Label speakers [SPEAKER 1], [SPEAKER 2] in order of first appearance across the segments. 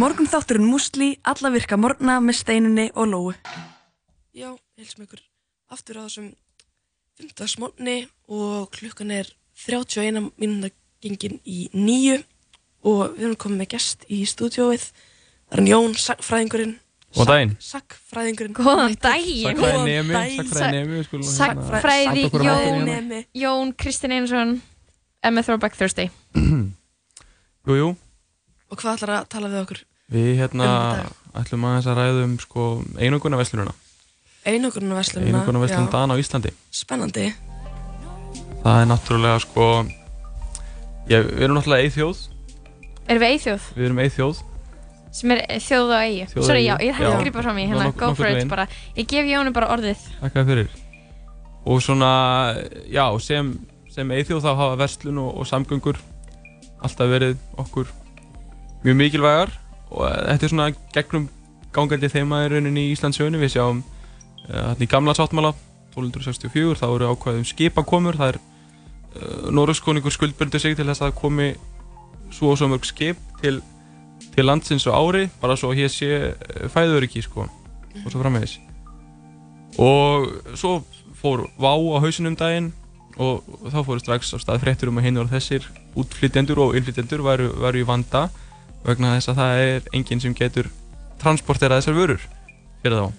[SPEAKER 1] Morgun þátturinn Músli, alla virka morgna með steinunni og lóu.
[SPEAKER 2] Já, helsum ykkur aftur á þessum 15. morgni og klukkan er 31 mínúnda gengin í nýju og við erum komið með gest í stúdióið. Það er hann Jón, sagfræðingurinn.
[SPEAKER 3] Góðan daginn.
[SPEAKER 2] Sagfræðingurinn.
[SPEAKER 4] Góðan daginn
[SPEAKER 3] Sakkfræði
[SPEAKER 2] Góðan
[SPEAKER 3] nemi,
[SPEAKER 2] daginn.
[SPEAKER 3] sakkfræði nemi við skulum hérna-
[SPEAKER 4] Sagnfræði
[SPEAKER 3] halda okkur á
[SPEAKER 4] Jón.
[SPEAKER 3] mætinni hérna.
[SPEAKER 2] Nemi.
[SPEAKER 4] Jón Kristinn Einarsson Emma Throwback Thursday
[SPEAKER 3] Jú, jú,
[SPEAKER 2] Og hvað ætlar að tala við okkur?
[SPEAKER 3] við hérna
[SPEAKER 2] Um
[SPEAKER 3] ætlum aðeins að ræða um sko einuguna veslununa
[SPEAKER 2] Einugurinn verslunna.
[SPEAKER 3] Einuguna veslun dana á Íslandi
[SPEAKER 2] Spennandi.
[SPEAKER 3] Það er náttúrulega sko Já, við erum náttúrulega eithjóð
[SPEAKER 4] Erum við Eithjóð?
[SPEAKER 3] Við erum eithjóð
[SPEAKER 4] Sem er eh, þjóð á eigi
[SPEAKER 3] Þjóð á
[SPEAKER 4] Sorry,
[SPEAKER 3] eyju.
[SPEAKER 4] já, ég hætti að
[SPEAKER 3] Já.
[SPEAKER 4] grípa fram í
[SPEAKER 3] Já,
[SPEAKER 4] hérna
[SPEAKER 3] nokk-
[SPEAKER 4] Go for
[SPEAKER 3] nokkurn
[SPEAKER 4] it
[SPEAKER 3] veginn.
[SPEAKER 4] bara Ég gef Jónu bara orðið
[SPEAKER 3] Takk fyrir Og svona, já, sem, sem eithjóð þá hafa verslun og, og samgöngur alltaf verið okkur mjög mikilvægar og eh, þetta er svona gegnum gangandi þeima í rauninni í Íslandsjönu við sjáum eh, þarna í gamla sáttmála 1264 þá eru ákvæðum skipakomur það er uh, Norrökskoningur skuldbundu sig til þess að komi svo og svo mörg skip til, til landsins á ári bara svo hér sé eh, fæðuöryggi sko og svo framvegis og svo fór Vá á hausinum daginn og og þá fóru strax á stað fréttur um að hinn og þessir útflytjendur og innflytjendur væru, væru í vanda vegna þess að það er enginn sem getur transporterað þessar vörur fyrir þá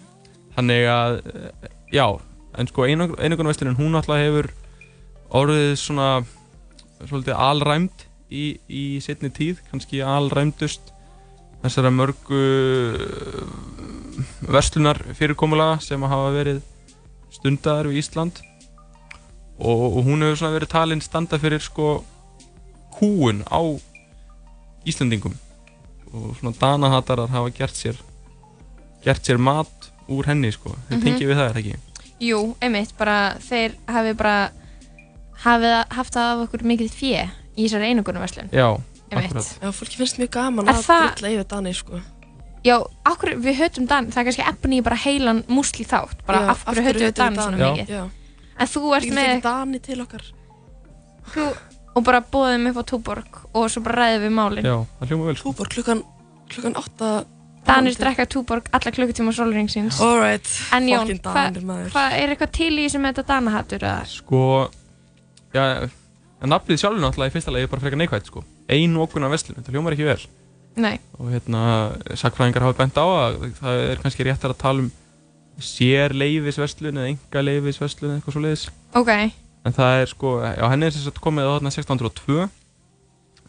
[SPEAKER 3] þannig að, eh, já, en sko einangunarvestunin hún alltaf hefur orðið svona svolítið alræmd í, í setni tíð, kannski alræmdust þessara mörgu verslunar fyrirkomulega sem hafa verið stundaðar við Ísland og, og hún hefur svona verið talin standa fyrir sko kúun á Íslandingum og svona danahatarar hafa gert sér gert sér mat úr henni sko, þeir mm
[SPEAKER 4] Mhm.
[SPEAKER 3] tengið við það er það ekki
[SPEAKER 4] Jú, einmitt, bara þeir hafi bara hafið að- haft það af okkur mikið fjö í þessari einogunum verslun
[SPEAKER 3] Já,
[SPEAKER 4] Einmitt
[SPEAKER 3] Akkúrat.
[SPEAKER 2] Já, fólki finnst mjög gaman
[SPEAKER 4] Er
[SPEAKER 2] að
[SPEAKER 4] það-
[SPEAKER 2] drilla yfir Dani, sko.
[SPEAKER 4] Já, okkur, við höttum Dan, það er kannski efni í bara heilan músli þátt bara
[SPEAKER 2] Já, um
[SPEAKER 4] af hverju höttum við Dan svona
[SPEAKER 3] Já.
[SPEAKER 4] mikið
[SPEAKER 2] Já.
[SPEAKER 4] En þú ert
[SPEAKER 2] Ég
[SPEAKER 4] með
[SPEAKER 2] tekið Dani til okkar.
[SPEAKER 4] þú, og bara bóðum upp á túborg og svo bara ræðum við málin
[SPEAKER 3] já, það hljóma vel sko
[SPEAKER 2] Túbor klukkan, klukkan 8.
[SPEAKER 4] Danir drekka túborg alla klukkutíma sólringsins
[SPEAKER 2] Alright.
[SPEAKER 4] En Jón,
[SPEAKER 2] Fucking
[SPEAKER 4] hvað
[SPEAKER 2] Danir, maður.
[SPEAKER 4] hva er eitthvað til í sem þetta danahattur eða?
[SPEAKER 3] Sko, já, en nafnið sjálfur náttúrulega í fyrsta lagi er bara frekar neikvægt sko Einu okkurna verslun, það hljómar ekki vel
[SPEAKER 4] Nei,
[SPEAKER 3] og hérna sakfræðingar hafa bent á að það er kannski réttar að tala um sér leifisverslun eða enga leifisverslun eða eitthvað svo leiðis
[SPEAKER 4] ok,
[SPEAKER 3] en það er sko, já henni er sem sagt komið á þarna 1602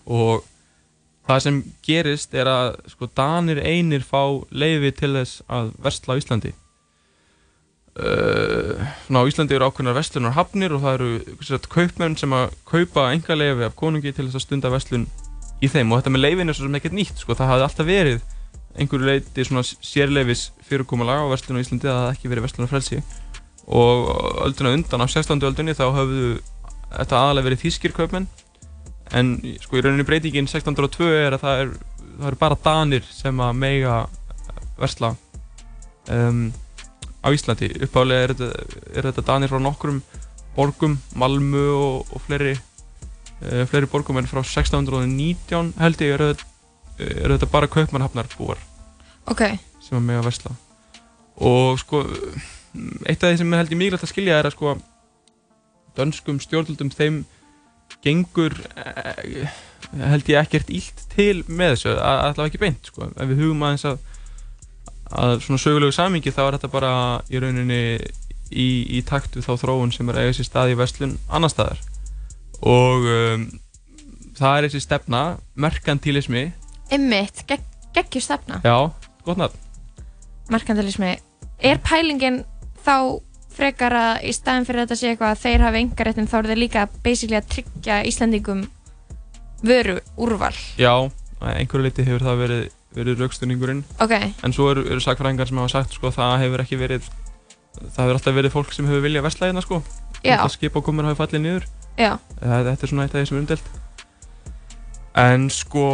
[SPEAKER 3] og það sem gerist er að sko danir einir fá leifi til þess að versla á Íslandi Uh, svona á Íslandi eru ákveðnar verslunar hafnir og það eru sem sagt, kaupmenn sem að kaupa enga leifi af konungi til þess að stunda verslun í þeim og þetta með leifin er svo sem ekkert nýtt sko, það hafði alltaf verið einhverju leiti svona sérleifis fyrirkomulag á verslun á Íslandi að það hafði ekki verið verslunarfrelsi og ölduna undan á 16. öldunni þá höfðu þetta aðalega verið þýskir kaupmenn en sko í rauninni breytingin 1602 er að það er, það er bara danir sem að mega versla um, á Íslandi uppálega er þetta, er þetta danir frá nokkrum borgum, Malmö og, og fleiri uh, fleiri borgum en frá 1619 held ég eru þetta, er þetta bara kaupmannhafnar búar
[SPEAKER 4] ok
[SPEAKER 3] sem að mega versla og sko eitt af því sem er held ég mikilvægt að skilja er að sko dönskum stjórnvöldum þeim gengur eh, held ég ekkert illt til með þessu, a- allavega ekki beint sko. ef við hugum aðeins að að svona sögulegu samingi þá er þetta bara í rauninni í, í takt við þá þróun sem er að eiga sér stað í verslun annar staðar og um, það er þessi stefna merkantilismi,
[SPEAKER 4] Ymmit, gegg, geggjur stefna
[SPEAKER 3] já, gott nafn
[SPEAKER 4] Merkantilismi Er pælingin þá frekar að í staðin fyrir að þetta sé eitthvað að þeir hafi engaréttin þá eru þeir líka basically að tryggja Íslandingum vöru úrval
[SPEAKER 3] Já, að einhverju leiti hefur það verið, verið raukstunningurinn
[SPEAKER 4] Ok,
[SPEAKER 3] en svo eru, eru sakfræðingar sem hafa sagt sko, það hefur ekki verið það hefur alltaf verið fólk sem hefur viljað vestlæðina sko,
[SPEAKER 4] já,
[SPEAKER 3] það skip og komur hafi fallið niður
[SPEAKER 4] já,
[SPEAKER 3] það, þetta er svona eitt af því sem er umdelt en sko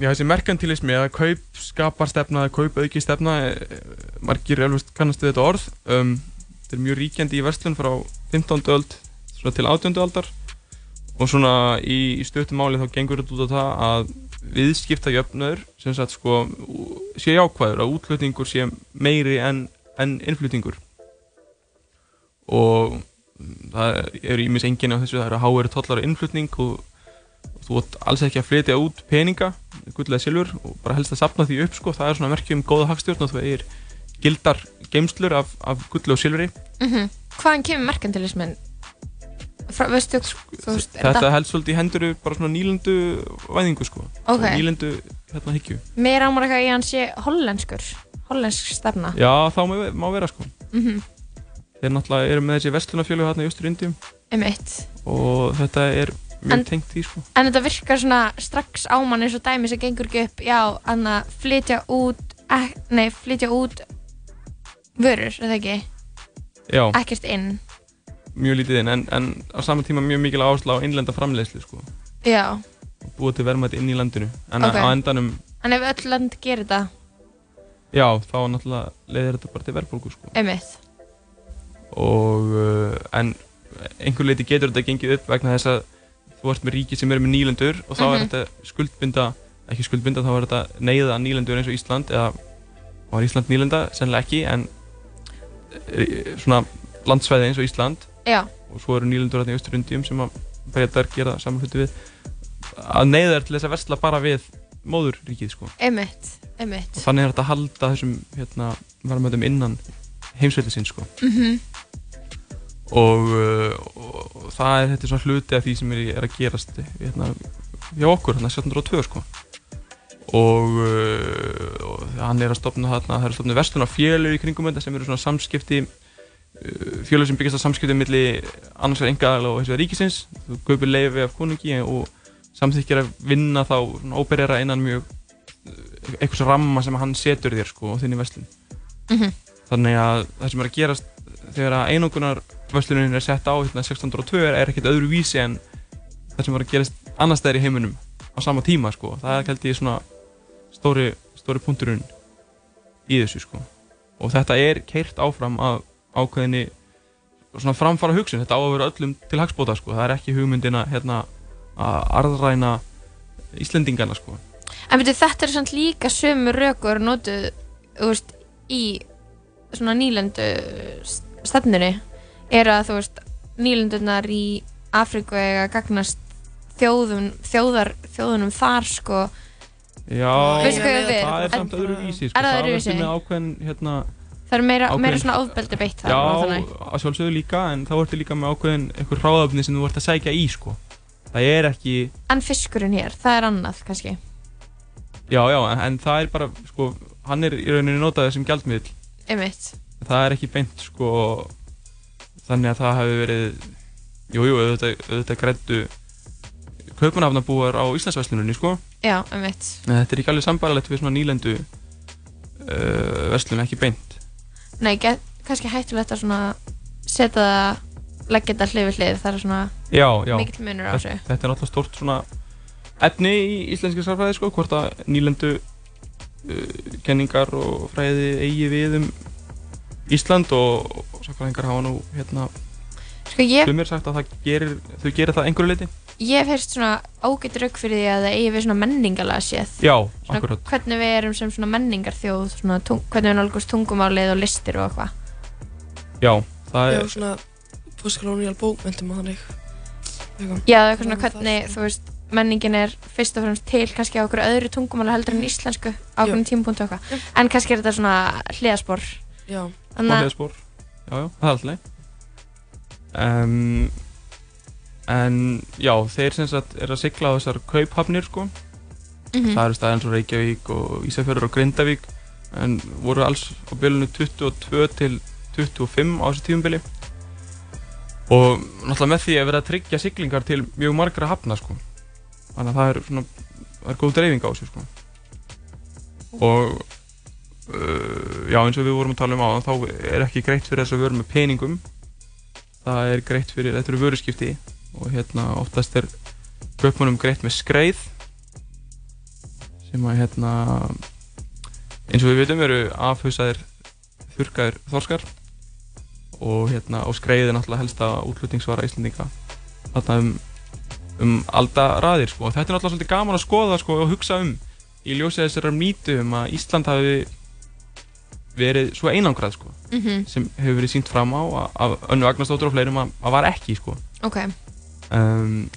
[SPEAKER 3] já, þessi merkantilismi eða kaup skaparstefna, kaup auki stefna e, margir elvist kannast við þetta orð um, þetta er mjög ríkjandi í verslun frá 15. öld svona til 18. aldar og svona í, í stöttum máli þá gengur þetta út á það að viðskiptajöfnur sem sagt sko ú- sé jákvæður að útlutningur sé meiri en, en innflutningur og mm, það eru ímis enginn á þessu það eru háir tollar á innflutning og, og þú átt alls ekki að flytja út peninga gullega silfur og bara helst að sapna því upp sko, það er svona merkjum góða hagstjórn og þú eigir gildar geimslur af, af gullu og silfri
[SPEAKER 4] Mhm. Hvaðan kemur merkantilismin? Frá, veistu, þú veist, er
[SPEAKER 3] þetta helst svolítið í hendur bara svona nýlendu væðingu sko
[SPEAKER 4] Ok.
[SPEAKER 3] og nýlendu hérna higgju
[SPEAKER 4] Mér ámar eitthvað í að hann sé hollenskur, hollensk stefna.
[SPEAKER 3] já þá má, má vera sko
[SPEAKER 4] Mhm.
[SPEAKER 3] þeir náttúrulega eru með þessi verslunafjölu hérna í Östurindjum
[SPEAKER 4] Um eitt.
[SPEAKER 3] og þetta er mjög
[SPEAKER 4] En-
[SPEAKER 3] tengt því sko
[SPEAKER 4] En þetta virkar svona strax á mann eins og dæmi sem gengur ekki upp, já, hann að flytja út, ek, nei, flytja út vörur, er það ekki?
[SPEAKER 3] já,
[SPEAKER 4] Ekkert inn.
[SPEAKER 3] mjög lítið inn en, en á sama tíma mjög mikil áhersla á innlenda framleiðslu sko
[SPEAKER 4] Já.
[SPEAKER 3] búið til verðmæti inn í landinu en
[SPEAKER 4] Ok.
[SPEAKER 3] á endanum,
[SPEAKER 4] En ef öll land gerir þetta,
[SPEAKER 3] já, þá náttúrulega leiðir þetta bara til verðbólgu sko
[SPEAKER 4] um eitt.
[SPEAKER 3] og uh, en einhver leiti getur þetta gengið upp vegna þess að þú ert með ríki sem eru með nýlendur og þá er
[SPEAKER 4] Mhm.
[SPEAKER 3] þetta skuldbinda ekki skuldbinda, þá er þetta neyða nýlendur eins og Ísland eða var Ísland nýlenda, sennilega ekki en eh, svona landsvæði eins og Ísland
[SPEAKER 4] Já,
[SPEAKER 3] og svo eru nýlendur hérna í austurundjum sem að breytar gera saman hluti við að neyða er til þess að versla bara við móðurríkið sko
[SPEAKER 4] um eitt, um eitt.
[SPEAKER 3] og þannig er þetta að halda þessum hérna, verðmætum innan heimsveldisinn sko.
[SPEAKER 4] Mhm,
[SPEAKER 3] og, uh, og, og það er þetta er svona hluti af því sem er, í- er að gerast hérna, hjá okkur, hérna 1702 sko. og, uh, og hann er að stopna þarna, það er að stopna verslun á fjölu í kringum þetta sem eru svona samskipti fjölu sem byggjast á samskipti milli annars vegar engaðal og hins vegar ríkisins þú kaupir leifi af konungi og samþykkir að vinna þá óberjara innan mjög uh, einhvers ramma sem hann setur þér sko og þinn í verslun
[SPEAKER 4] Mhm.
[SPEAKER 3] þannig að það sem er að gerast þegar að einungunar verslunin er sett á hérna 1602 er, er ekkert öðru vísi en það sem er að gerast annars stæðir í heiminum á sama tíma sko það er held ég svona stóri, stóri punkturinn í þessu sko og þetta er keirt áfram af ákveðinni svona framfara hugsun þetta á að vera öllum til hagsbóta sko það er ekki hugmyndina hérna að arðræna Íslendingana sko
[SPEAKER 4] En betur þetta er samt líka sömu rökur notuð, þú veist, í svona nýlendu stefnunni er að þú veist, nýlendunar í Afríku eiga að gagnast þjóðum, þjóðar, þjóðunum þar sko,
[SPEAKER 3] Já,
[SPEAKER 4] Veistu hvað ég við?
[SPEAKER 3] það er
[SPEAKER 4] En-
[SPEAKER 3] samt öðru vísi sko.
[SPEAKER 4] Er það
[SPEAKER 3] það
[SPEAKER 4] öðruvísi?
[SPEAKER 3] ertu með ákveðin hérna,
[SPEAKER 4] það er meira,
[SPEAKER 3] Ákveðin-
[SPEAKER 4] meira svona ofbeldi beitt þar
[SPEAKER 3] Já,
[SPEAKER 4] og þannig.
[SPEAKER 3] að sjálfsögðu líka En þá ertu líka með ákveðin einhver hráðafni sem þú ert að sækja í sko. Það er ekki
[SPEAKER 4] En fiskurinn hér, það er annað kannski.
[SPEAKER 3] Já, já, en, en það er bara sko, Hann er í rauninni notaðið sem gjaldmiðl
[SPEAKER 4] Einmitt.
[SPEAKER 3] Það er ekki beint sko, Þannig að það hefur verið Jújú, jú, auðvitað, auðvitað grættu Kaupanafnabúar á Íslandsversluninni sko.
[SPEAKER 4] Já, einmitt.
[SPEAKER 3] En þetta er ekki alveg sambaralegt við svona nýlendu uh, Verslun, ekki beint
[SPEAKER 4] Nei, get, kannski hættulegt að svona setja það, leggja þetta hlið við hlið, það er svona
[SPEAKER 3] Já, já
[SPEAKER 4] mikill munur á þessu.
[SPEAKER 3] þetta, þetta er náttúrulega stort svona efni í íslenski sarfræði sko, hvort að nýlendu uh, kenningar og fræði eigi við um Ísland og, og sakfræðingar hafa nú hérna
[SPEAKER 4] Sko ég
[SPEAKER 3] sumir sagt að það gerir, þau gerir það einhverju leiti
[SPEAKER 4] Ég hef heyrst svona ágætt rauk fyrir því að það eigi við svona menningalega séð.
[SPEAKER 3] Já,
[SPEAKER 4] Svona
[SPEAKER 3] akkurat
[SPEAKER 4] Hvernig við erum sem svona menningarþjóð, svona tung, hvernig við nálgumst tungumálið og listir og eitthvað.
[SPEAKER 3] Já, það
[SPEAKER 2] Já,
[SPEAKER 3] er,
[SPEAKER 2] svona postkolonial bókmyndum og þannig Eitthvað.
[SPEAKER 4] Já, það er eitthvað
[SPEAKER 2] Þannig
[SPEAKER 4] svona
[SPEAKER 2] að það
[SPEAKER 4] hvernig,
[SPEAKER 2] sé-
[SPEAKER 4] þú veist, menningin er fyrst og fremst til kannski á okkur öðru tungumáli heldur en íslensku á okkur tímapunktu og
[SPEAKER 2] Jú.
[SPEAKER 4] eitthvað. En kannski er þetta svona hliðaspor.
[SPEAKER 2] Já,
[SPEAKER 4] Þannig að,
[SPEAKER 3] bóliðaspor Já, já, það er alltaf leið um, En já, þeir sem sagt er að sigla á þessar kauphafnir sko
[SPEAKER 4] mhm,
[SPEAKER 3] það eru staðir eins og Reykjavík og Ísafjörður og Grindavík en voru alls á bylunu 22 til 25 á þessu tífumbili og náttúrulega með því að vera að tryggja siglingar til mjög margra hafna sko. þannig að það er, svona, það er góð dreifing á þessu sko. og uh, já eins og við vorum að tala um á þá er ekki greitt fyrir þess að vera með peningum það er greitt fyrir þetta eru vöruskipti og hérna oftast er kaupmannum greitt með skreið sem að hérna eins og við vitum eru afhauðsaðir þurkaðir þorskar og hérna og skreiði náttúrulega helsta útlutningsvara Íslendinga þarna um um aldaraðir sko. og þetta er náttúrulega svolítið gaman að skoða sko, og hugsa um í ljósið þessara mýtu um að Ísland hafi verið svo einangrað sko,
[SPEAKER 4] Mhm.
[SPEAKER 3] sem hefur verið sínt fram á að- af önnu Agnarsdóttur og fleirum að, að var ekki sko.
[SPEAKER 4] ok,
[SPEAKER 3] um,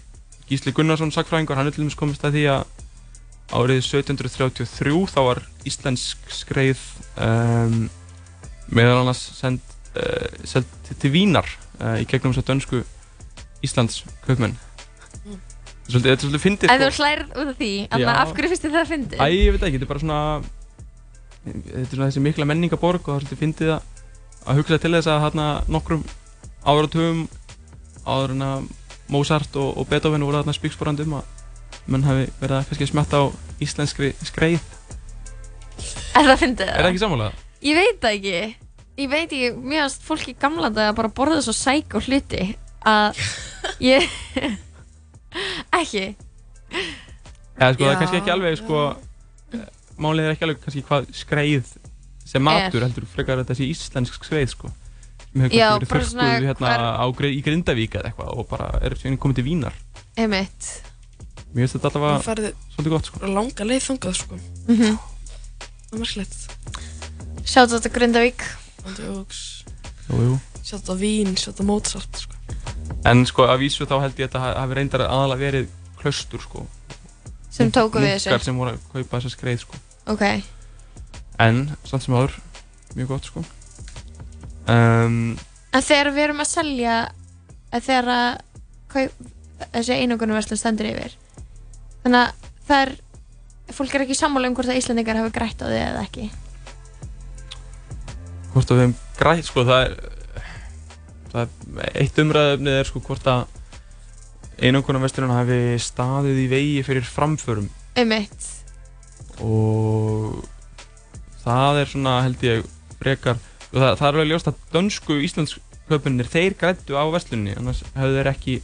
[SPEAKER 3] Gísli Gunnarsson sagfræðingur, hann er til dæmis komist að því að árið 1733 þá var íslensk skreið um, meðal annars send, uh, seld til Vínar uh, í gegnum þess að dönsku Íslands kaupmenn
[SPEAKER 2] Mm.
[SPEAKER 3] Svolítið, þetta er svolítið fyndið
[SPEAKER 4] ef þú
[SPEAKER 3] sko.
[SPEAKER 4] hlærð út af því þannig
[SPEAKER 3] Já.
[SPEAKER 4] af hverju finnst þið það að fyndi?
[SPEAKER 3] Æ, ég veit ekki, þetta er bara svona þetta er svona þessi mikla menningaborg og það er svolítið fyndið að, að hugsa til þess að hérna nokkrum áratugum áður en að Mozart og, og Beethoven voru þarna spíksporandi um að menn hafi verið að kannski smetta á íslenskri skreið
[SPEAKER 4] er það fyndið?
[SPEAKER 3] Er það ekki sammála?
[SPEAKER 4] Ég veit það ekki Ég veit ekki, mér finnst fólk í gamla dag að bara borða svo sæk og hluti að ég ekki,
[SPEAKER 3] Eða sko, það er
[SPEAKER 2] Já,
[SPEAKER 3] kannski ekki alveg sko eh, málið er ekki alveg kannski hvað skreið sem matur heldur frekar að þetta sé íslensk skreið sko sem hefur
[SPEAKER 4] Já,
[SPEAKER 3] kannski verið
[SPEAKER 4] bara
[SPEAKER 3] þurrkuð
[SPEAKER 4] svona
[SPEAKER 3] hérna
[SPEAKER 4] hvar-
[SPEAKER 3] á, Gri- í Grindavík eða eitthvað og bara er síðan komið til Vínar
[SPEAKER 4] einmitt
[SPEAKER 3] Mér finnst þetta
[SPEAKER 2] Það
[SPEAKER 3] allavega
[SPEAKER 2] farið
[SPEAKER 3] svolítið gott sko
[SPEAKER 2] bara langa leið þangað sko
[SPEAKER 4] mm -hmm.
[SPEAKER 2] Það er merkilegt
[SPEAKER 4] Sjátt þetta Grindavík
[SPEAKER 2] Andjóks
[SPEAKER 3] Jú, jú.
[SPEAKER 2] Sjátt á vín, sjátt á Mozart sko
[SPEAKER 3] En sko að vísu þá held ég að þetta ha- hafi reyndar aðalega verið klaustur sko Mhm.
[SPEAKER 4] sem tóku við
[SPEAKER 3] Munkar
[SPEAKER 4] þessu
[SPEAKER 3] sem voru að kaupa þessa skreið sko
[SPEAKER 4] Ok,
[SPEAKER 3] En samt sem áður, mjög gott sko um,
[SPEAKER 4] en þegar við erum að selja að þegar að kaup, þessi einogunarverslun stendur yfir þannig að það er fólk er ekki sammála um hvort að Íslandingar hafi grætt á því eða ekki
[SPEAKER 3] Hvort að við hefum grætt sko það er, það er Eitt umræðefnið er sko hvort að einanguna vesturinn hafi staðið í vegi fyrir framförum
[SPEAKER 4] einmitt,
[SPEAKER 3] og það er svona held ég frekar og það, það er alveg ljóst að dönsku íslenskaupunir þeir grættu á vestlunni annars hefðu þeir ekki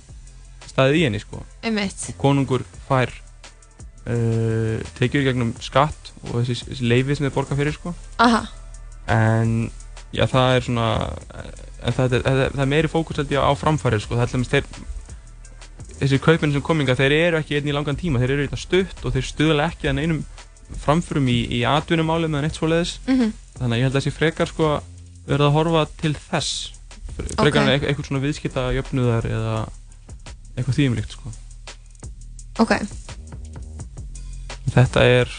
[SPEAKER 3] staðið í henni sko
[SPEAKER 4] einmitt
[SPEAKER 3] og konungur fær uh, tekjur í gegnum skatt og þessi, þessi leifi sem þeir borga fyrir sko
[SPEAKER 4] Aha,
[SPEAKER 3] en já það er svona en það, það, það, það er meiri fókus held ég á framfærir sko það er allmest þeir þessi kaupin sem kominga þeir eru ekki einn í langan tíma þeir eru eitthvað stutt og þeir stuðla ekki þannig einum framförum í, í atvinnumálum eða neitt svoleiðis
[SPEAKER 4] mhm
[SPEAKER 3] þannig að ég held að þessi frekar sko verða að horfa til þess frekar
[SPEAKER 4] Ok.
[SPEAKER 3] okay. en eit- eitthvað svona viðskipta jöfnuðar eða eitthvað þýmlíkt sko
[SPEAKER 4] ok,
[SPEAKER 3] þetta er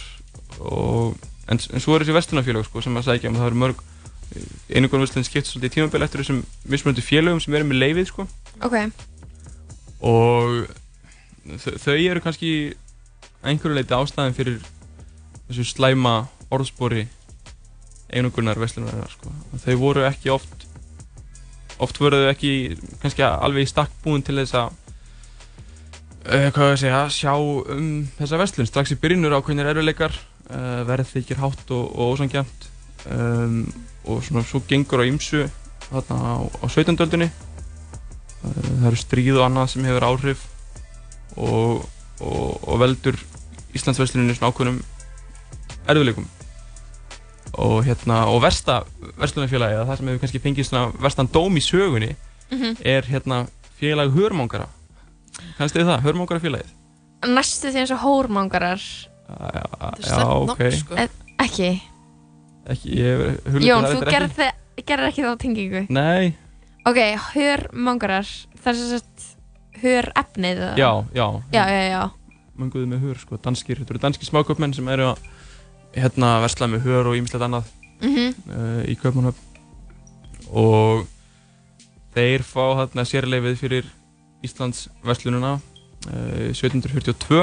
[SPEAKER 3] og, en, en svo er þessi vestunafélög sko, sem að sækja um það eru mörg einhvern veslun skipt svolítið í tímabil eftir þessum mismunandi félögum sem eru með leifið sko.
[SPEAKER 4] ok
[SPEAKER 3] og þau, þau eru kannski að einhverju leiti ástæðin fyrir þessu slæma orðspori einhverjunar veslunar sko. Og þau voru ekki oft oft voru þau ekki kannski alveg í stakk búin til þess að uh, hvað ég segja, sjá um þessa vestlun strax í byrjunur ákveðnir erfileikar uh, verð þykir hátt og, og ósangjönd um, og svona svo gengur á ymsu þarna á, á 17. öldunni uh, það eru stríð og annað sem hefur áhrif og, og, og veldur Íslandsversluninni svona ákveðnum erfileikum og hérna, og versta verslunarfélagi, eða það sem hefur kannski fengið svona verstan dóm í sögunni
[SPEAKER 4] mm
[SPEAKER 3] er hérna félag hörmangara kannst þið það, hörmangarafélagið
[SPEAKER 4] Næstu því eins og hórmangarar
[SPEAKER 3] já,
[SPEAKER 2] Þetta er
[SPEAKER 3] já,
[SPEAKER 2] stærkt
[SPEAKER 3] ok
[SPEAKER 2] nafn sko
[SPEAKER 4] En- Ekki
[SPEAKER 3] ekki, ég hef hugleitt
[SPEAKER 4] Jón, þú gerð gerðir ekki þá tengingu
[SPEAKER 3] nei,
[SPEAKER 4] Ok, hörmangarar Það er sem sagt hör efnið
[SPEAKER 3] já, já,
[SPEAKER 4] Já, já, já
[SPEAKER 3] mönguðu með hör sko, danskir, þetta eru danski smáköpmenn sem eru að hérna versla með hör og ímislegt annað
[SPEAKER 4] mm
[SPEAKER 3] uh, í Kaupmannhöfn og þeir fá þarna sérleifið fyrir Íslands verslununa uh, 1742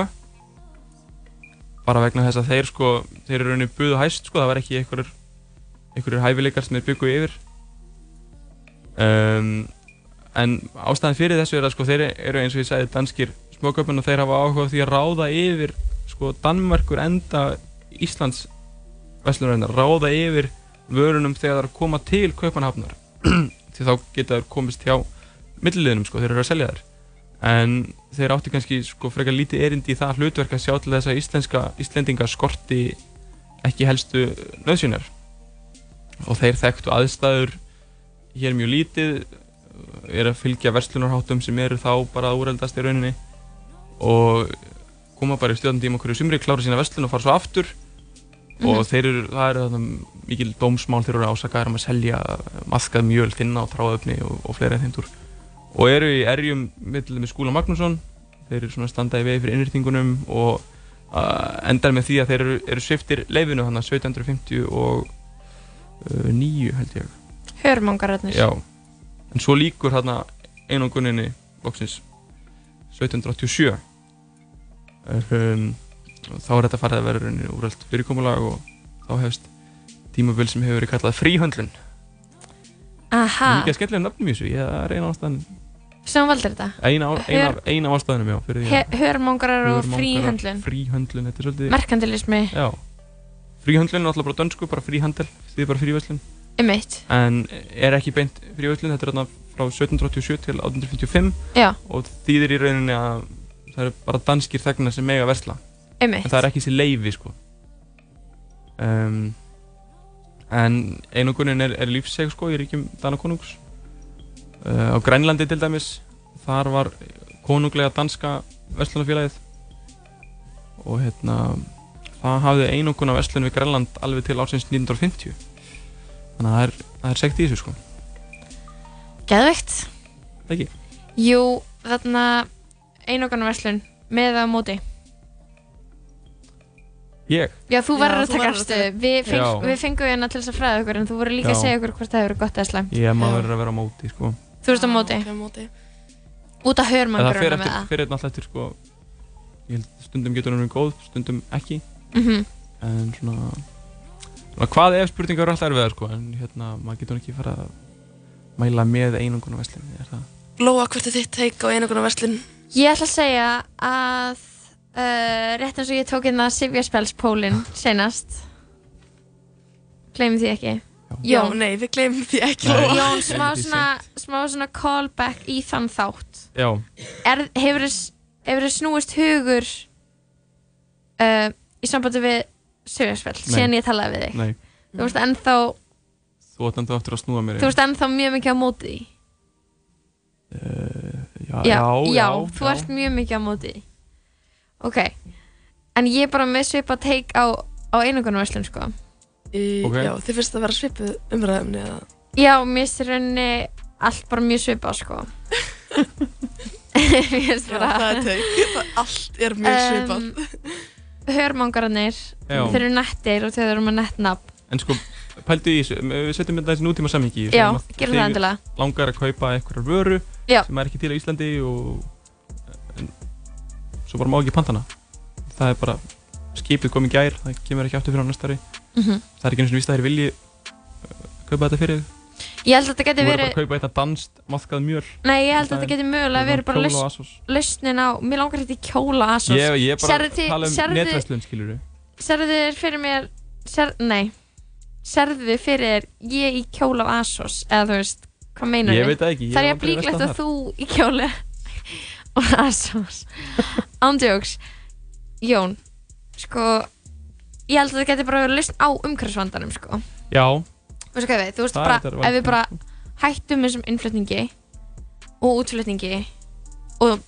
[SPEAKER 3] bara vegna þess að þeir sko, þeir eru rauninni buðu hæst sko, það var ekki einhverjur einhverjur hæfileikar sem þeir byggu yfir um, en ástæðan fyrir þessu er að sko, þeir eru eins og ég sagði danskir smoköpun og þeir hafa áhuga á því að ráða yfir sko, Danmarkur enda Íslands verslunarinnar, ráða yfir vörunum þegar það er að koma til kaupanhafnar því þá geta þeir komist hjá milliliðinum sko, þeir eru að selja þær en þeir áttu kannski sko frekar lítið erindi í það hlutverk að sjá til þess að íslenska, íslendinga skorti ekki helstu nöðsynjar og þeir þekktu aðstæður hér mjög lítið er að fylgja verslunarháttum sem eru þá bara að úreldast í rauninni og koma bara í stjórnandi tíma hverju sumri, klára sína vestlun og fara svo aftur og þeir eru, það eru þannig mikil dómsmál þeir eru ásakaðar um að selja maðkað mjöl, þinna og tráðöfni og, og fleiri en þeim túr og eru í erjum mittlega með Skúla Magnússon þeir eru svona standaði vegi fyrir innrýtingunum og uh, endar með því að þeir eru, eru sviftir leifinu þannig 1750 og uh, 9 held ég
[SPEAKER 4] Hörmangararnir
[SPEAKER 3] Já, en svo líkur hérna einanguninni loksins 1787 um, og þá er þetta farið að vera rauninni úröld fyrirkomulag og þá hefst tímabil sem hefur verið kallað fríhöndlun
[SPEAKER 4] Aha,
[SPEAKER 3] Mikið að skellum nöfnum í þessu, ég er eina ástæðan
[SPEAKER 4] sem valdir þetta
[SPEAKER 3] eina, eina, eina ástæðanum já fyrir því
[SPEAKER 4] He-
[SPEAKER 3] að-
[SPEAKER 4] Hörmangarar og
[SPEAKER 3] Hörmungar-
[SPEAKER 4] fríhöndlun
[SPEAKER 3] Fríhöndlun, þetta er svolítið
[SPEAKER 4] Merkantilismi,
[SPEAKER 3] Já Fríhöndlun er náttúrulega bara dönsku, bara fríhandel því bara fríverslun
[SPEAKER 4] ummitt
[SPEAKER 3] en er ekki beint fríverslun, þetta er þarna frá 1787 til 1855
[SPEAKER 4] Já,
[SPEAKER 3] og þýðir í rauninni að það eru bara danskir þegnar sem mega versla en
[SPEAKER 4] ummitt
[SPEAKER 3] það er ekki sér leifi sko um, en einangunin er, er lífseg sko í ríkjum Danakonungs uh, á Grænlandi til dæmis þar var konunglega danska verslunafélagið og hérna það hafði einangun á verslun við Grænland alveg til ársins 1950 þannig að það er, það er segt í þessu sko
[SPEAKER 4] Geðveikt
[SPEAKER 3] Það ekki?
[SPEAKER 4] Jú, þarna einogunarverslun með að móti
[SPEAKER 3] Ég?
[SPEAKER 4] Já, þú
[SPEAKER 2] Já,
[SPEAKER 4] verður að
[SPEAKER 2] þú
[SPEAKER 4] taka
[SPEAKER 2] verður að
[SPEAKER 4] afstöðu Við, feng,
[SPEAKER 3] Já.
[SPEAKER 4] við fengum hérna til þess að fræða ykkur en þú voru líka að
[SPEAKER 3] Já.
[SPEAKER 4] segja ykkur hvort það hefur gott eða slæmt
[SPEAKER 3] Ég
[SPEAKER 2] Já.
[SPEAKER 3] maður verður að vera á móti sko
[SPEAKER 4] Þú veist á móti,
[SPEAKER 2] Já, ok, á móti.
[SPEAKER 4] út
[SPEAKER 3] En það
[SPEAKER 4] af
[SPEAKER 3] fer
[SPEAKER 4] hörmangaruna með
[SPEAKER 3] eftir,
[SPEAKER 4] það
[SPEAKER 3] fer náttúrulega eftir sko ég held stundum getur hún verið góð, stundum ekki
[SPEAKER 4] mm
[SPEAKER 3] en svona, svona hvað ef spurningar eru alltaf erfiðar sko en hérna maður getur ekki fara að mæla með einangun og veslum er það
[SPEAKER 2] Lóa, hvert er þitt teik á einangunar verslun?
[SPEAKER 4] Ég ætla að segja að uh, rétt eins og ég tók inn að Sifjarspelspólin seinast Gleymum því ekki Jón,
[SPEAKER 2] nei, við gleymum því ekki
[SPEAKER 3] Nei.
[SPEAKER 2] Lóa.
[SPEAKER 4] Jón smá,
[SPEAKER 3] Ekki
[SPEAKER 4] svona, smá svona callback í þann þátt
[SPEAKER 3] Já,
[SPEAKER 4] er, hefur, þess- hefur þess snúist hugur uh, í sambandi við Sifjarspel
[SPEAKER 3] Nei.
[SPEAKER 4] síðan ég talaði við þig
[SPEAKER 3] nei,
[SPEAKER 4] Þú veist ennþá,
[SPEAKER 3] þú átt enda aftur að snúa mér
[SPEAKER 4] þú veist ennþá mjög mikið á móti því.
[SPEAKER 3] Eh, já, já, já,
[SPEAKER 4] já, þú ert mjög mikið á móti því. Ok, en ég er bara með svipa teik á, á einangunarverslun sko.
[SPEAKER 2] Í-
[SPEAKER 3] Ok.
[SPEAKER 2] Já, þið finnst það að vera svipuð umræðum eða
[SPEAKER 4] Já, mér finnst í rauninni allt bara mjög svipa sko. mér finnst
[SPEAKER 2] Já, það
[SPEAKER 4] bara
[SPEAKER 2] er teik. Það- Allt er mjög svipað.
[SPEAKER 4] Em, hörmangarnir,
[SPEAKER 3] Já.
[SPEAKER 4] þeir eru nettir og þeir eru með nettnafn.
[SPEAKER 3] En sko, pældu í þessu, við setjum þetta þessi nútíma samhengi í,
[SPEAKER 4] Já,
[SPEAKER 3] segjum að
[SPEAKER 4] gerum það
[SPEAKER 3] þig
[SPEAKER 4] endilega.
[SPEAKER 3] langar að kaupa einhverjar vöru
[SPEAKER 4] Já.
[SPEAKER 3] sem er ekki til á Íslandi og en, svo bara má ekki pantana það er bara skipið komið gær, það kemur ekki aftur fyrir á næstari
[SPEAKER 4] Mm
[SPEAKER 3] það er ekki eins og víst að þeir vilji uh, kaupa þetta fyrir þig.
[SPEAKER 4] Ég held að þetta
[SPEAKER 3] þú
[SPEAKER 4] geti
[SPEAKER 3] verður bara
[SPEAKER 4] verið,
[SPEAKER 3] að kaupa þetta danst maðkað mjöl
[SPEAKER 4] nei, ég held að
[SPEAKER 3] Það er-
[SPEAKER 4] þetta geti mögulega verið bara
[SPEAKER 3] Kjóla og
[SPEAKER 4] laus-
[SPEAKER 3] Asos.
[SPEAKER 4] lausnin á, mér langar þetta í kjóla asos.
[SPEAKER 3] ég, ég er bara
[SPEAKER 4] Sérðu þið-
[SPEAKER 3] að tala um
[SPEAKER 4] sérðu-
[SPEAKER 3] netverslun skilur
[SPEAKER 4] Serðu þér fyrir mér ser, Nei Serðu þér fyrir þér ég í kjól af Asos Eða þú veist, hvað meinar
[SPEAKER 3] ég veit það ekki, ég
[SPEAKER 4] Það er
[SPEAKER 3] hef
[SPEAKER 4] jafn
[SPEAKER 3] aldrei
[SPEAKER 4] líklegt
[SPEAKER 3] verslað
[SPEAKER 4] að
[SPEAKER 3] þar.
[SPEAKER 4] þú í kjóli Og Asos Ándjóks Jón, sko Ég held að það geti bara verið lausn á umhverfisvandanum sko.
[SPEAKER 3] já,
[SPEAKER 4] Veistu hvað ég veit, Þú veist
[SPEAKER 3] það
[SPEAKER 4] bara,
[SPEAKER 3] er þetta
[SPEAKER 4] ef við
[SPEAKER 3] vandamál,
[SPEAKER 4] bara
[SPEAKER 3] sko.
[SPEAKER 4] hættum þessum innflutningi og útflutningi og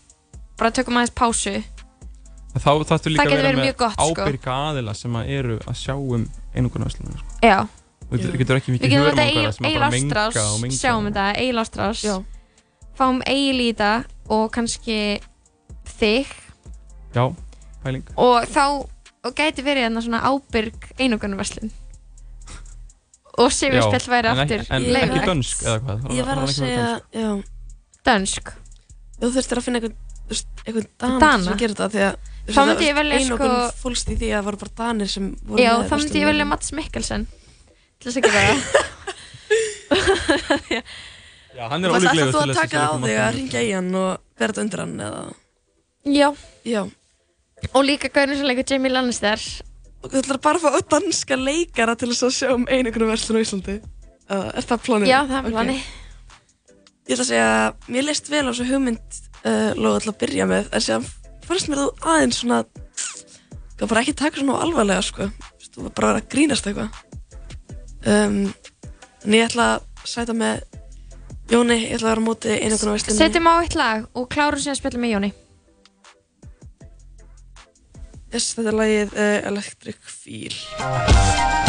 [SPEAKER 4] bara tökum aðeins pásu
[SPEAKER 3] En þá þarftu líka
[SPEAKER 4] Það
[SPEAKER 3] að
[SPEAKER 4] getur
[SPEAKER 3] vera
[SPEAKER 4] verið
[SPEAKER 3] með
[SPEAKER 4] mjög gott, sko.
[SPEAKER 3] ábyrga aðila sem að eru að sjá um einhverjum verslunum sko.
[SPEAKER 4] Já,
[SPEAKER 3] Þú getur-
[SPEAKER 2] Já.
[SPEAKER 3] getur ekki
[SPEAKER 4] Við
[SPEAKER 3] mikið
[SPEAKER 4] getum þetta
[SPEAKER 3] hörmungar sem að
[SPEAKER 4] Egil
[SPEAKER 3] bara menga
[SPEAKER 4] Ástrás,
[SPEAKER 3] og menga
[SPEAKER 4] sjáum þetta, Egil Ástrás
[SPEAKER 2] Já.
[SPEAKER 4] Fáum Egil í þetta og kannski þig
[SPEAKER 3] já, pæling
[SPEAKER 4] og þá og gæti verið hérna svona ábyrg einogunarverslun og
[SPEAKER 3] Já,
[SPEAKER 4] Sifjarspjall væri
[SPEAKER 3] en ekki-
[SPEAKER 4] aftur
[SPEAKER 3] en
[SPEAKER 2] leyfilegt.
[SPEAKER 3] ekki dönsk eða hvað
[SPEAKER 2] Ég verð að segja, já,
[SPEAKER 4] dönsk
[SPEAKER 2] þú þurftir að finna einhvern, þú veist, einhvern dan
[SPEAKER 4] Dana?
[SPEAKER 2] sem gerir þetta því að þú veist,
[SPEAKER 4] Þá
[SPEAKER 2] það-
[SPEAKER 4] myndi ég velja,
[SPEAKER 2] einokun
[SPEAKER 4] sko-
[SPEAKER 2] fólst í því að það voru bara danir sem voru
[SPEAKER 4] Já,
[SPEAKER 2] með
[SPEAKER 4] þá myndi ég
[SPEAKER 2] verslunina.
[SPEAKER 4] velja Mats Mikkelsen til þess að gera það
[SPEAKER 3] já, hann er
[SPEAKER 2] Það ætlar þú
[SPEAKER 3] ólíklegur
[SPEAKER 2] að
[SPEAKER 3] til þess að
[SPEAKER 2] taka
[SPEAKER 3] segja
[SPEAKER 2] á þig
[SPEAKER 3] okkur markmið,
[SPEAKER 2] að
[SPEAKER 3] sko.
[SPEAKER 2] ringja í hann og vera þetta undir hann eða
[SPEAKER 4] Já,
[SPEAKER 2] Já,
[SPEAKER 4] og líka gauðin sem leikur Jamie Lannister
[SPEAKER 2] og þú ætlar bara að fá öll danska leikara til þess að sjá um einhvern verslun á Íslandi uh, Er það planið?
[SPEAKER 4] Já, það er
[SPEAKER 2] Ok.
[SPEAKER 4] planið
[SPEAKER 2] Ég ætla að segja, mér leist vel á þessu hugmynd uh, Lóðu ætla að byrja með En séðan fannst mér þú aðeins svona Það bara ekki taka svona á alvarlega sko Þú veist, Þú var bara að grínast eitthvað um, En ég ætla að sæta með Jóni, ég ætla að vera á móti einhvern veginn
[SPEAKER 4] Setjum á eitt lag og klárum síðan að spjalla með Jóni
[SPEAKER 2] Yes, þetta er lagið uh, Electric Feel.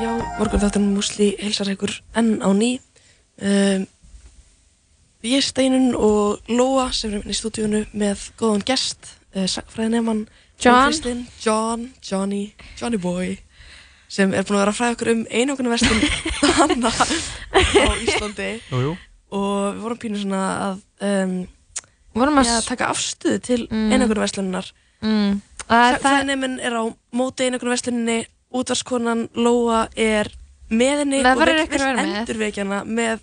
[SPEAKER 2] Já, morgun þáttunum Músli heilsar ykkur enn á ný. Um, ég er Steinun og Lóa sem erum inn í stúdíunu með góðan gest, uh, sagfræðinemann
[SPEAKER 4] John.
[SPEAKER 2] Kristinn, John, Johnny, Johnny Boy sem er búin að vera að fræða okkur um einogunarvestin hana á Íslandi
[SPEAKER 3] Jú, jú.
[SPEAKER 2] og við vorum pínu svona að um,
[SPEAKER 4] Vorum að...
[SPEAKER 2] já, taka afstöðu til
[SPEAKER 4] Mm.
[SPEAKER 2] mm. einogunarveslunar
[SPEAKER 4] Mm, að það,
[SPEAKER 2] Sagfræðineminn er á móti einogunarvesluninni útvarskonan Lóa er með henni
[SPEAKER 4] Það
[SPEAKER 2] og
[SPEAKER 4] verður
[SPEAKER 2] vill-
[SPEAKER 4] einhver að
[SPEAKER 2] vill
[SPEAKER 4] vera með.
[SPEAKER 2] endurvekjana með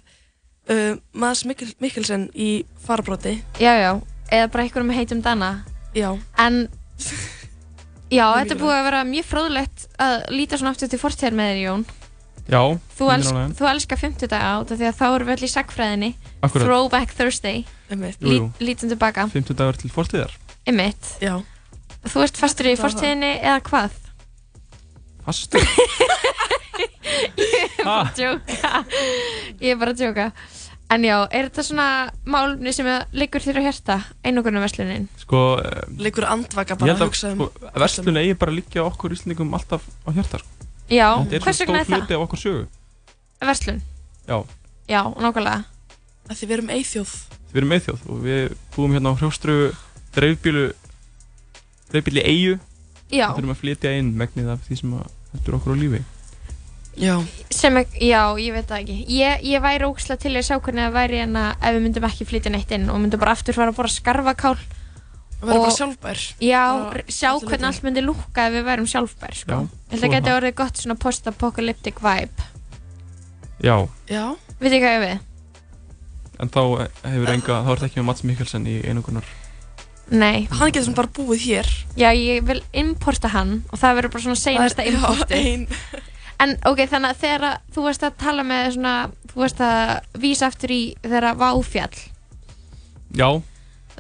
[SPEAKER 2] uh, Mads Mikkel, Mikkelsen í farabróti
[SPEAKER 4] já, já, eða bara einhverjum með heitum dana.
[SPEAKER 2] Já,
[SPEAKER 4] En, já,
[SPEAKER 2] Mjög
[SPEAKER 4] þetta er búið að vera mjög fróðlegt að líta svona aftur til fortíðar með þér, Jón.
[SPEAKER 3] Já,
[SPEAKER 4] Þú,
[SPEAKER 3] mjög
[SPEAKER 4] elsk,
[SPEAKER 3] ánægður.
[SPEAKER 4] þú elskar 50 dag át af því að þá erum við öll í sagfræðinni.
[SPEAKER 3] Akkurat,
[SPEAKER 4] Throwback Thursday.
[SPEAKER 2] einmitt
[SPEAKER 3] Jú, jú.
[SPEAKER 4] Lít, lítum tilbaka.
[SPEAKER 3] 50 dagar til fortíðar
[SPEAKER 4] Ymmit.
[SPEAKER 2] Já,
[SPEAKER 4] Þú ert fastur
[SPEAKER 2] Það
[SPEAKER 4] í
[SPEAKER 2] var það.
[SPEAKER 4] fortíðinni eða hvað?
[SPEAKER 3] Fastu
[SPEAKER 4] bara að djóka Ég er bara að djóka En já, er þetta svona málumni sem liggur þér á hjarta? Einogunum verslunin
[SPEAKER 3] Sko, eh,
[SPEAKER 2] leikur andvaka
[SPEAKER 3] ég
[SPEAKER 2] bara
[SPEAKER 3] held
[SPEAKER 2] að
[SPEAKER 3] að
[SPEAKER 2] hugsa
[SPEAKER 3] sko,
[SPEAKER 2] um
[SPEAKER 3] verslun eigi bara að liggja okkur Íslendingum alltaf á hjarta sko.
[SPEAKER 4] Já,
[SPEAKER 3] Þetta er svo
[SPEAKER 4] hvers
[SPEAKER 3] stór
[SPEAKER 4] vegna er það?
[SPEAKER 3] hluti af okkar sögu
[SPEAKER 4] Verslun?
[SPEAKER 3] Já,
[SPEAKER 4] Já, nákvæmlega
[SPEAKER 2] að því við erum eithjóð
[SPEAKER 3] við erum meðþjóð og við búum hérna á hrjóstru dreifbílu dreifbíli eigu
[SPEAKER 4] Já,
[SPEAKER 3] og þurfum að flytja inn megnið af því sem að heldur okkur á lífi
[SPEAKER 2] Já,
[SPEAKER 4] sem ekki, já, ég veit það ekki Ég, ég væri ógslag til að sjá hvernig það væri en að ef við myndum ekki flytja neitt inn og myndum bara aftur fara að borða skarfakál
[SPEAKER 2] að vera
[SPEAKER 4] Og-
[SPEAKER 2] bara sjálfbær
[SPEAKER 4] Já,
[SPEAKER 2] Já,
[SPEAKER 4] r- sjá
[SPEAKER 2] allir
[SPEAKER 4] hvernig
[SPEAKER 2] vita.
[SPEAKER 4] allt myndi lúkka ef við værum sjálfbær
[SPEAKER 3] Já,
[SPEAKER 4] sko. Ég held
[SPEAKER 3] svo
[SPEAKER 4] að
[SPEAKER 3] er
[SPEAKER 4] geti
[SPEAKER 3] það.
[SPEAKER 4] orðið gott svona post-apocalyptic vibe
[SPEAKER 3] Já,
[SPEAKER 2] Já,
[SPEAKER 4] Veit ég hvað ég við?
[SPEAKER 3] en þá hefur enga, þá er þetta ekki með Mats Mikkelsen í einungunar
[SPEAKER 4] Nei,
[SPEAKER 2] Hann getur svona bara búið hér.
[SPEAKER 4] já ég vil importa hann og það verður bara svona seinasta
[SPEAKER 2] Já,
[SPEAKER 4] importið
[SPEAKER 2] ein,
[SPEAKER 4] En ok, þannig að þegar að þú varst að tala með svona, þú varst að vísa aftur í þegar að váfjall
[SPEAKER 3] Já,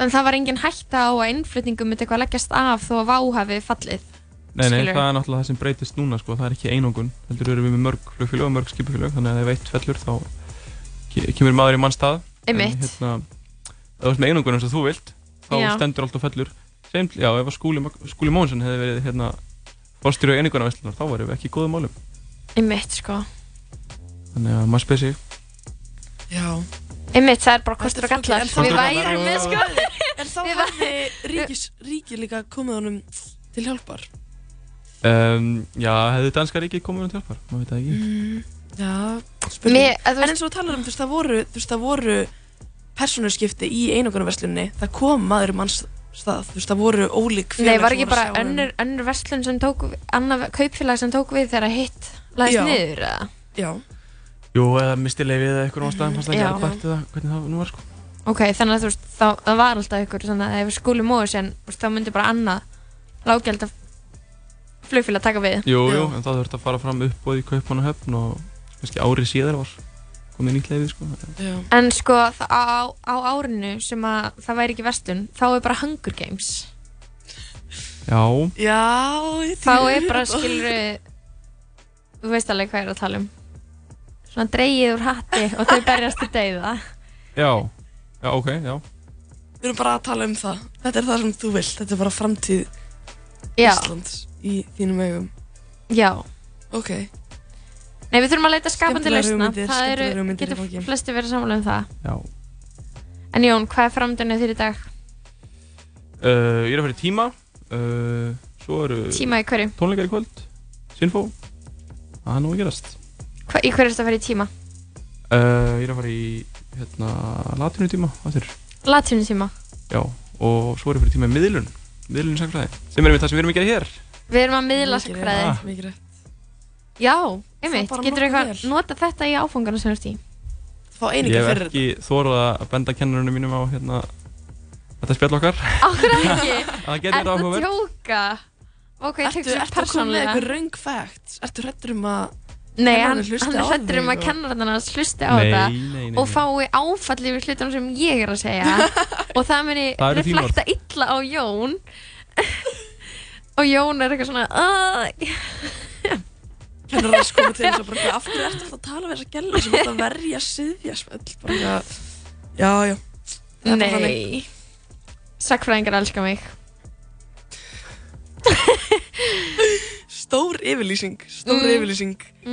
[SPEAKER 4] En það var engin hætta á að innflutningum myndi eitthvað leggjast af þó að vá hafi fallið
[SPEAKER 3] nei, nei,
[SPEAKER 4] Skilurðu?
[SPEAKER 3] það er náttúrulega það sem breytist núna sko, það er ekki einungun, heldur erum við með mörg flugfélög og mörg skipafélög, þannig að ef eitt fellur þá ke- kemur maður í mann stað
[SPEAKER 4] Einmitt.
[SPEAKER 3] En, hérna, ef þú ert með einungun eins og þú vilt, þá
[SPEAKER 4] Já.
[SPEAKER 3] stendur allt og fellur sem, Já, ef að Skúli, Mag- Skúli Mónsson hefði verið hérna, fórstyrju einingunarveislunar, þá varum við ekki í góðum málum
[SPEAKER 4] Einmitt sko
[SPEAKER 3] Þannig að maður spesi
[SPEAKER 2] já.
[SPEAKER 4] Einmitt, það er bara kostur og
[SPEAKER 2] Þetta er
[SPEAKER 4] gallar
[SPEAKER 2] flókið, en
[SPEAKER 3] Kostur og
[SPEAKER 4] Við
[SPEAKER 3] gallar
[SPEAKER 4] værum
[SPEAKER 3] og-
[SPEAKER 4] með sko
[SPEAKER 2] En þá
[SPEAKER 4] Við
[SPEAKER 2] hafði ríkis, ríki líka komið honum til hjálpar.
[SPEAKER 3] um, Já, hefði danska ríkið komið um hjálpar, maður veit það ekki
[SPEAKER 2] Mm, Já,
[SPEAKER 4] Mér,
[SPEAKER 2] spurning.
[SPEAKER 4] að þú
[SPEAKER 2] En
[SPEAKER 4] veist,
[SPEAKER 2] eins og þú talar um, þú veist, það voru, þú veist, það voru persónurskipti í einogunarverslunni. Það kom maður í manns stað, þú veist, það voru ólík
[SPEAKER 4] Nei,
[SPEAKER 2] félag
[SPEAKER 4] var
[SPEAKER 2] sem
[SPEAKER 4] ekki
[SPEAKER 2] voru
[SPEAKER 4] bara
[SPEAKER 2] að sjá um-
[SPEAKER 4] önnur, önnur verslun sem tók annað kaupfélag sem tók við þegar hitt
[SPEAKER 2] Já.
[SPEAKER 4] lagðist niður eða?
[SPEAKER 2] Já,
[SPEAKER 3] Jú, eða mistilegi við eitthvað ástæðum, fannst það
[SPEAKER 4] Já.
[SPEAKER 3] ekki alveg eftir það, hvernig það nú var sko
[SPEAKER 4] Ok, þannig að þú veist, þá, það var alltaf ykkur þannig að ef við skúlum móðu sér þá myndi bara annað lágjald að flugfélag taka við
[SPEAKER 3] Jú,
[SPEAKER 2] Já.
[SPEAKER 3] jú, en það þurfti að fara fram uppbóð í Kaupanahöfn og kannski árið síðar var komið nýtt leiði, sko.
[SPEAKER 2] já.
[SPEAKER 4] En sko, það- á, á árinu sem að það væri ekki verslun þá er bara Hunger Games
[SPEAKER 3] Já,
[SPEAKER 2] Já, ég
[SPEAKER 4] þá
[SPEAKER 2] þýði-
[SPEAKER 4] er bara skilur þú veist alveg hvað ég er að tala um svona dreigið úr hatti og þau berjast til dauða
[SPEAKER 3] já, já, ok, já.
[SPEAKER 2] Við erum bara að tala um það. Þetta er það sem þú vilt. Þetta er bara framtíð
[SPEAKER 4] Já,
[SPEAKER 2] Íslands í þínum augum.
[SPEAKER 4] já
[SPEAKER 2] Ok,
[SPEAKER 4] Nei, við þurfum að leita skapandi
[SPEAKER 2] Skemmtilegar
[SPEAKER 4] lausna
[SPEAKER 2] hugmyndir,
[SPEAKER 4] Það eru,
[SPEAKER 2] skemmtilegar hugmyndir í
[SPEAKER 4] getur
[SPEAKER 2] gangi.
[SPEAKER 4] flesti verið sammála um það
[SPEAKER 3] já.
[SPEAKER 4] En Jón, hvað er framdönu þér í dag?
[SPEAKER 3] Uh, ég er að fara í tíma, uh, svo eru
[SPEAKER 4] Tíma í hverju?
[SPEAKER 3] tónleikar í kvöld, Sinfó, það er nú að gerast.
[SPEAKER 4] Hva, í hverju ertu að fara í tíma?
[SPEAKER 3] Uh, ég er að fara í, hérna, latinu tíma, aftur,
[SPEAKER 4] Latinu tíma
[SPEAKER 3] já, og svo er ég að fara í tíma í miðlun, miðlun í sagfræði, sem er einmitt það sem við erum að gera hér.
[SPEAKER 4] Við erum að miðla
[SPEAKER 2] Mikið
[SPEAKER 4] sakfræði
[SPEAKER 3] Ah.
[SPEAKER 2] mikið rétt.
[SPEAKER 4] Já, einmitt,
[SPEAKER 2] bara
[SPEAKER 4] getur
[SPEAKER 2] nokkuð
[SPEAKER 4] eitthvað
[SPEAKER 2] vel.
[SPEAKER 4] nota þetta í áfangana sem þú ert í
[SPEAKER 2] Fá
[SPEAKER 3] Ég
[SPEAKER 2] einingar
[SPEAKER 3] hef
[SPEAKER 2] fyrir þetta.
[SPEAKER 3] ekki þórað að benda kennarunum mínum á, hérna, þetta spjall okkar,
[SPEAKER 4] Akkur ekki,
[SPEAKER 3] það getur verið
[SPEAKER 4] er það
[SPEAKER 3] áhugaverð.
[SPEAKER 4] tjóka? Ok, ég tek
[SPEAKER 2] Ertu,
[SPEAKER 4] svo
[SPEAKER 2] ertu að koma með
[SPEAKER 4] persónlega
[SPEAKER 2] eitthvað raung facts? Ertu hrættur um að
[SPEAKER 4] Nei,
[SPEAKER 2] Kennararnir
[SPEAKER 4] hann,
[SPEAKER 2] hlusti
[SPEAKER 4] hann
[SPEAKER 2] á
[SPEAKER 4] er hrættur
[SPEAKER 2] þig
[SPEAKER 4] um að
[SPEAKER 2] og-
[SPEAKER 4] kennararnar hans hlusti á
[SPEAKER 3] Nei,
[SPEAKER 4] þetta
[SPEAKER 3] nei, nei,
[SPEAKER 4] og
[SPEAKER 3] nei.
[SPEAKER 4] fái áfall yfir hlutum sem ég er að segja og það muni
[SPEAKER 3] Það eru þín
[SPEAKER 4] reflekta illa á Jón og Jón er eitthvað svona "Ah,
[SPEAKER 2] kennar að skoma til þess að bara eitthvað, af hverju ertu alltaf að tala við þessa gæla sem átt að verja siðjasmöll? Bara eitthvað, já, já. Það er bara þannig.
[SPEAKER 4] Nei Sackfræðingar elska mig
[SPEAKER 2] Stór yfirlýsing, stór
[SPEAKER 4] Mm.
[SPEAKER 2] yfirlýsing.